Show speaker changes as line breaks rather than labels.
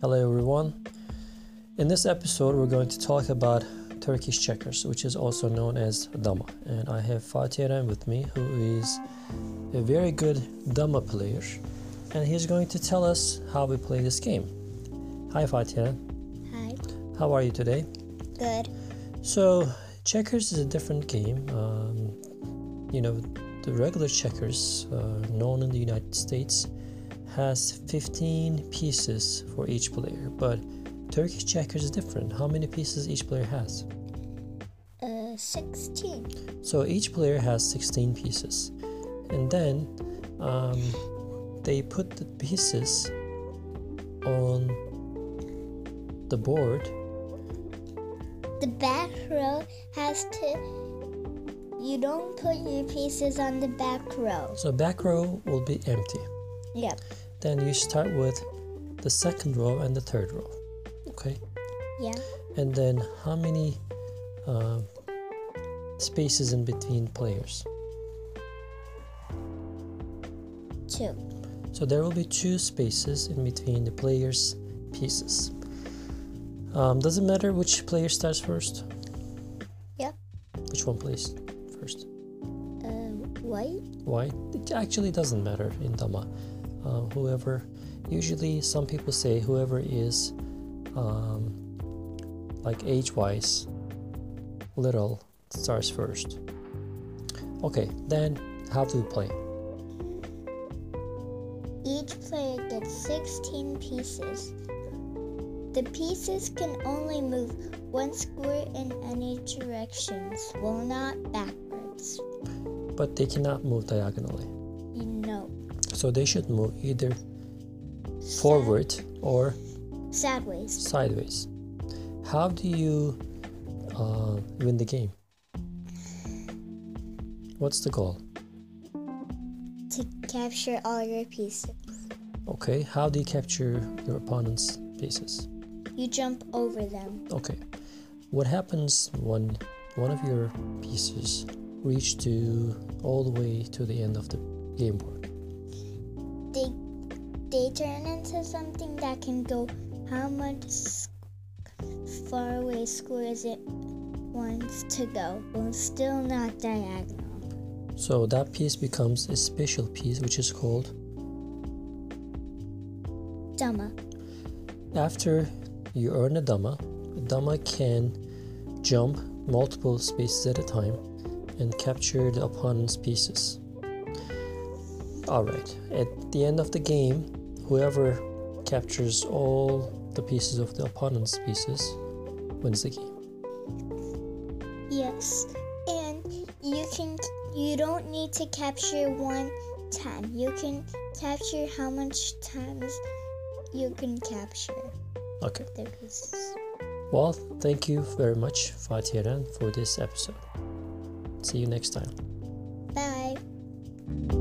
Hello everyone. In this episode, we're going to talk about Turkish checkers, which is also known as dama. And I have Fatih Eren with me, who is a very good dama player, and he's going to tell us how we play this game. Hi Fatih Eren,
Hi.
how are you today?
Good.
So, checkers is a different game. Um, you know, the regular checkers, uh, known in the United States, has 15 pieces for each player, but Turkish checkers is different. How many pieces each player has?
Uh, 16.
So each player has 16 pieces, and then um, they put the pieces on the board
The back row has to. You don't put your pieces on the back row.
so back row will be empty
Yep.
then you start with the second row and the third row okay
Yeah.
and then how many uh, spaces in between players
Two.
so there will be two spaces in between the players pieces um, does it matter which player starts first
Yeah.
which one plays first
Uh, white.
Why? It actually doesn't matter in Dhamma. Uh, whoever, usually some people say whoever is um, like age wise little starts first. Okay, then how do you play?
Each player gets 16 pieces. The pieces can only move one square in any directions, well, not backwards.
But they cannot move diagonally.
You know.
So they should move either forward or
Sideways.
sideways. How do you uh, win the game? What's the goal?
To capture all your pieces.
Okay, how do you capture your opponent's pieces?
You jump over them.
Okay, what happens when one of your pieces reach to all the way to the end of the game board?
they they turn into something that can go how much s- far away squares it wants to go while still not diagonal
So that piece becomes a special piece, which is called.
Dhamma.
After you earn a dama, a dama can jump multiple spaces at a time and capture the opponent's pieces. Alright, at the end of the game, whoever captures all the pieces of the opponent's pieces wins the game.
yes and you can you don't need to capture one time you can capture how much times you can capture
Okay,
the pieces
well, thank you very much, Fatih Eren, for this episode. See you next time.
bye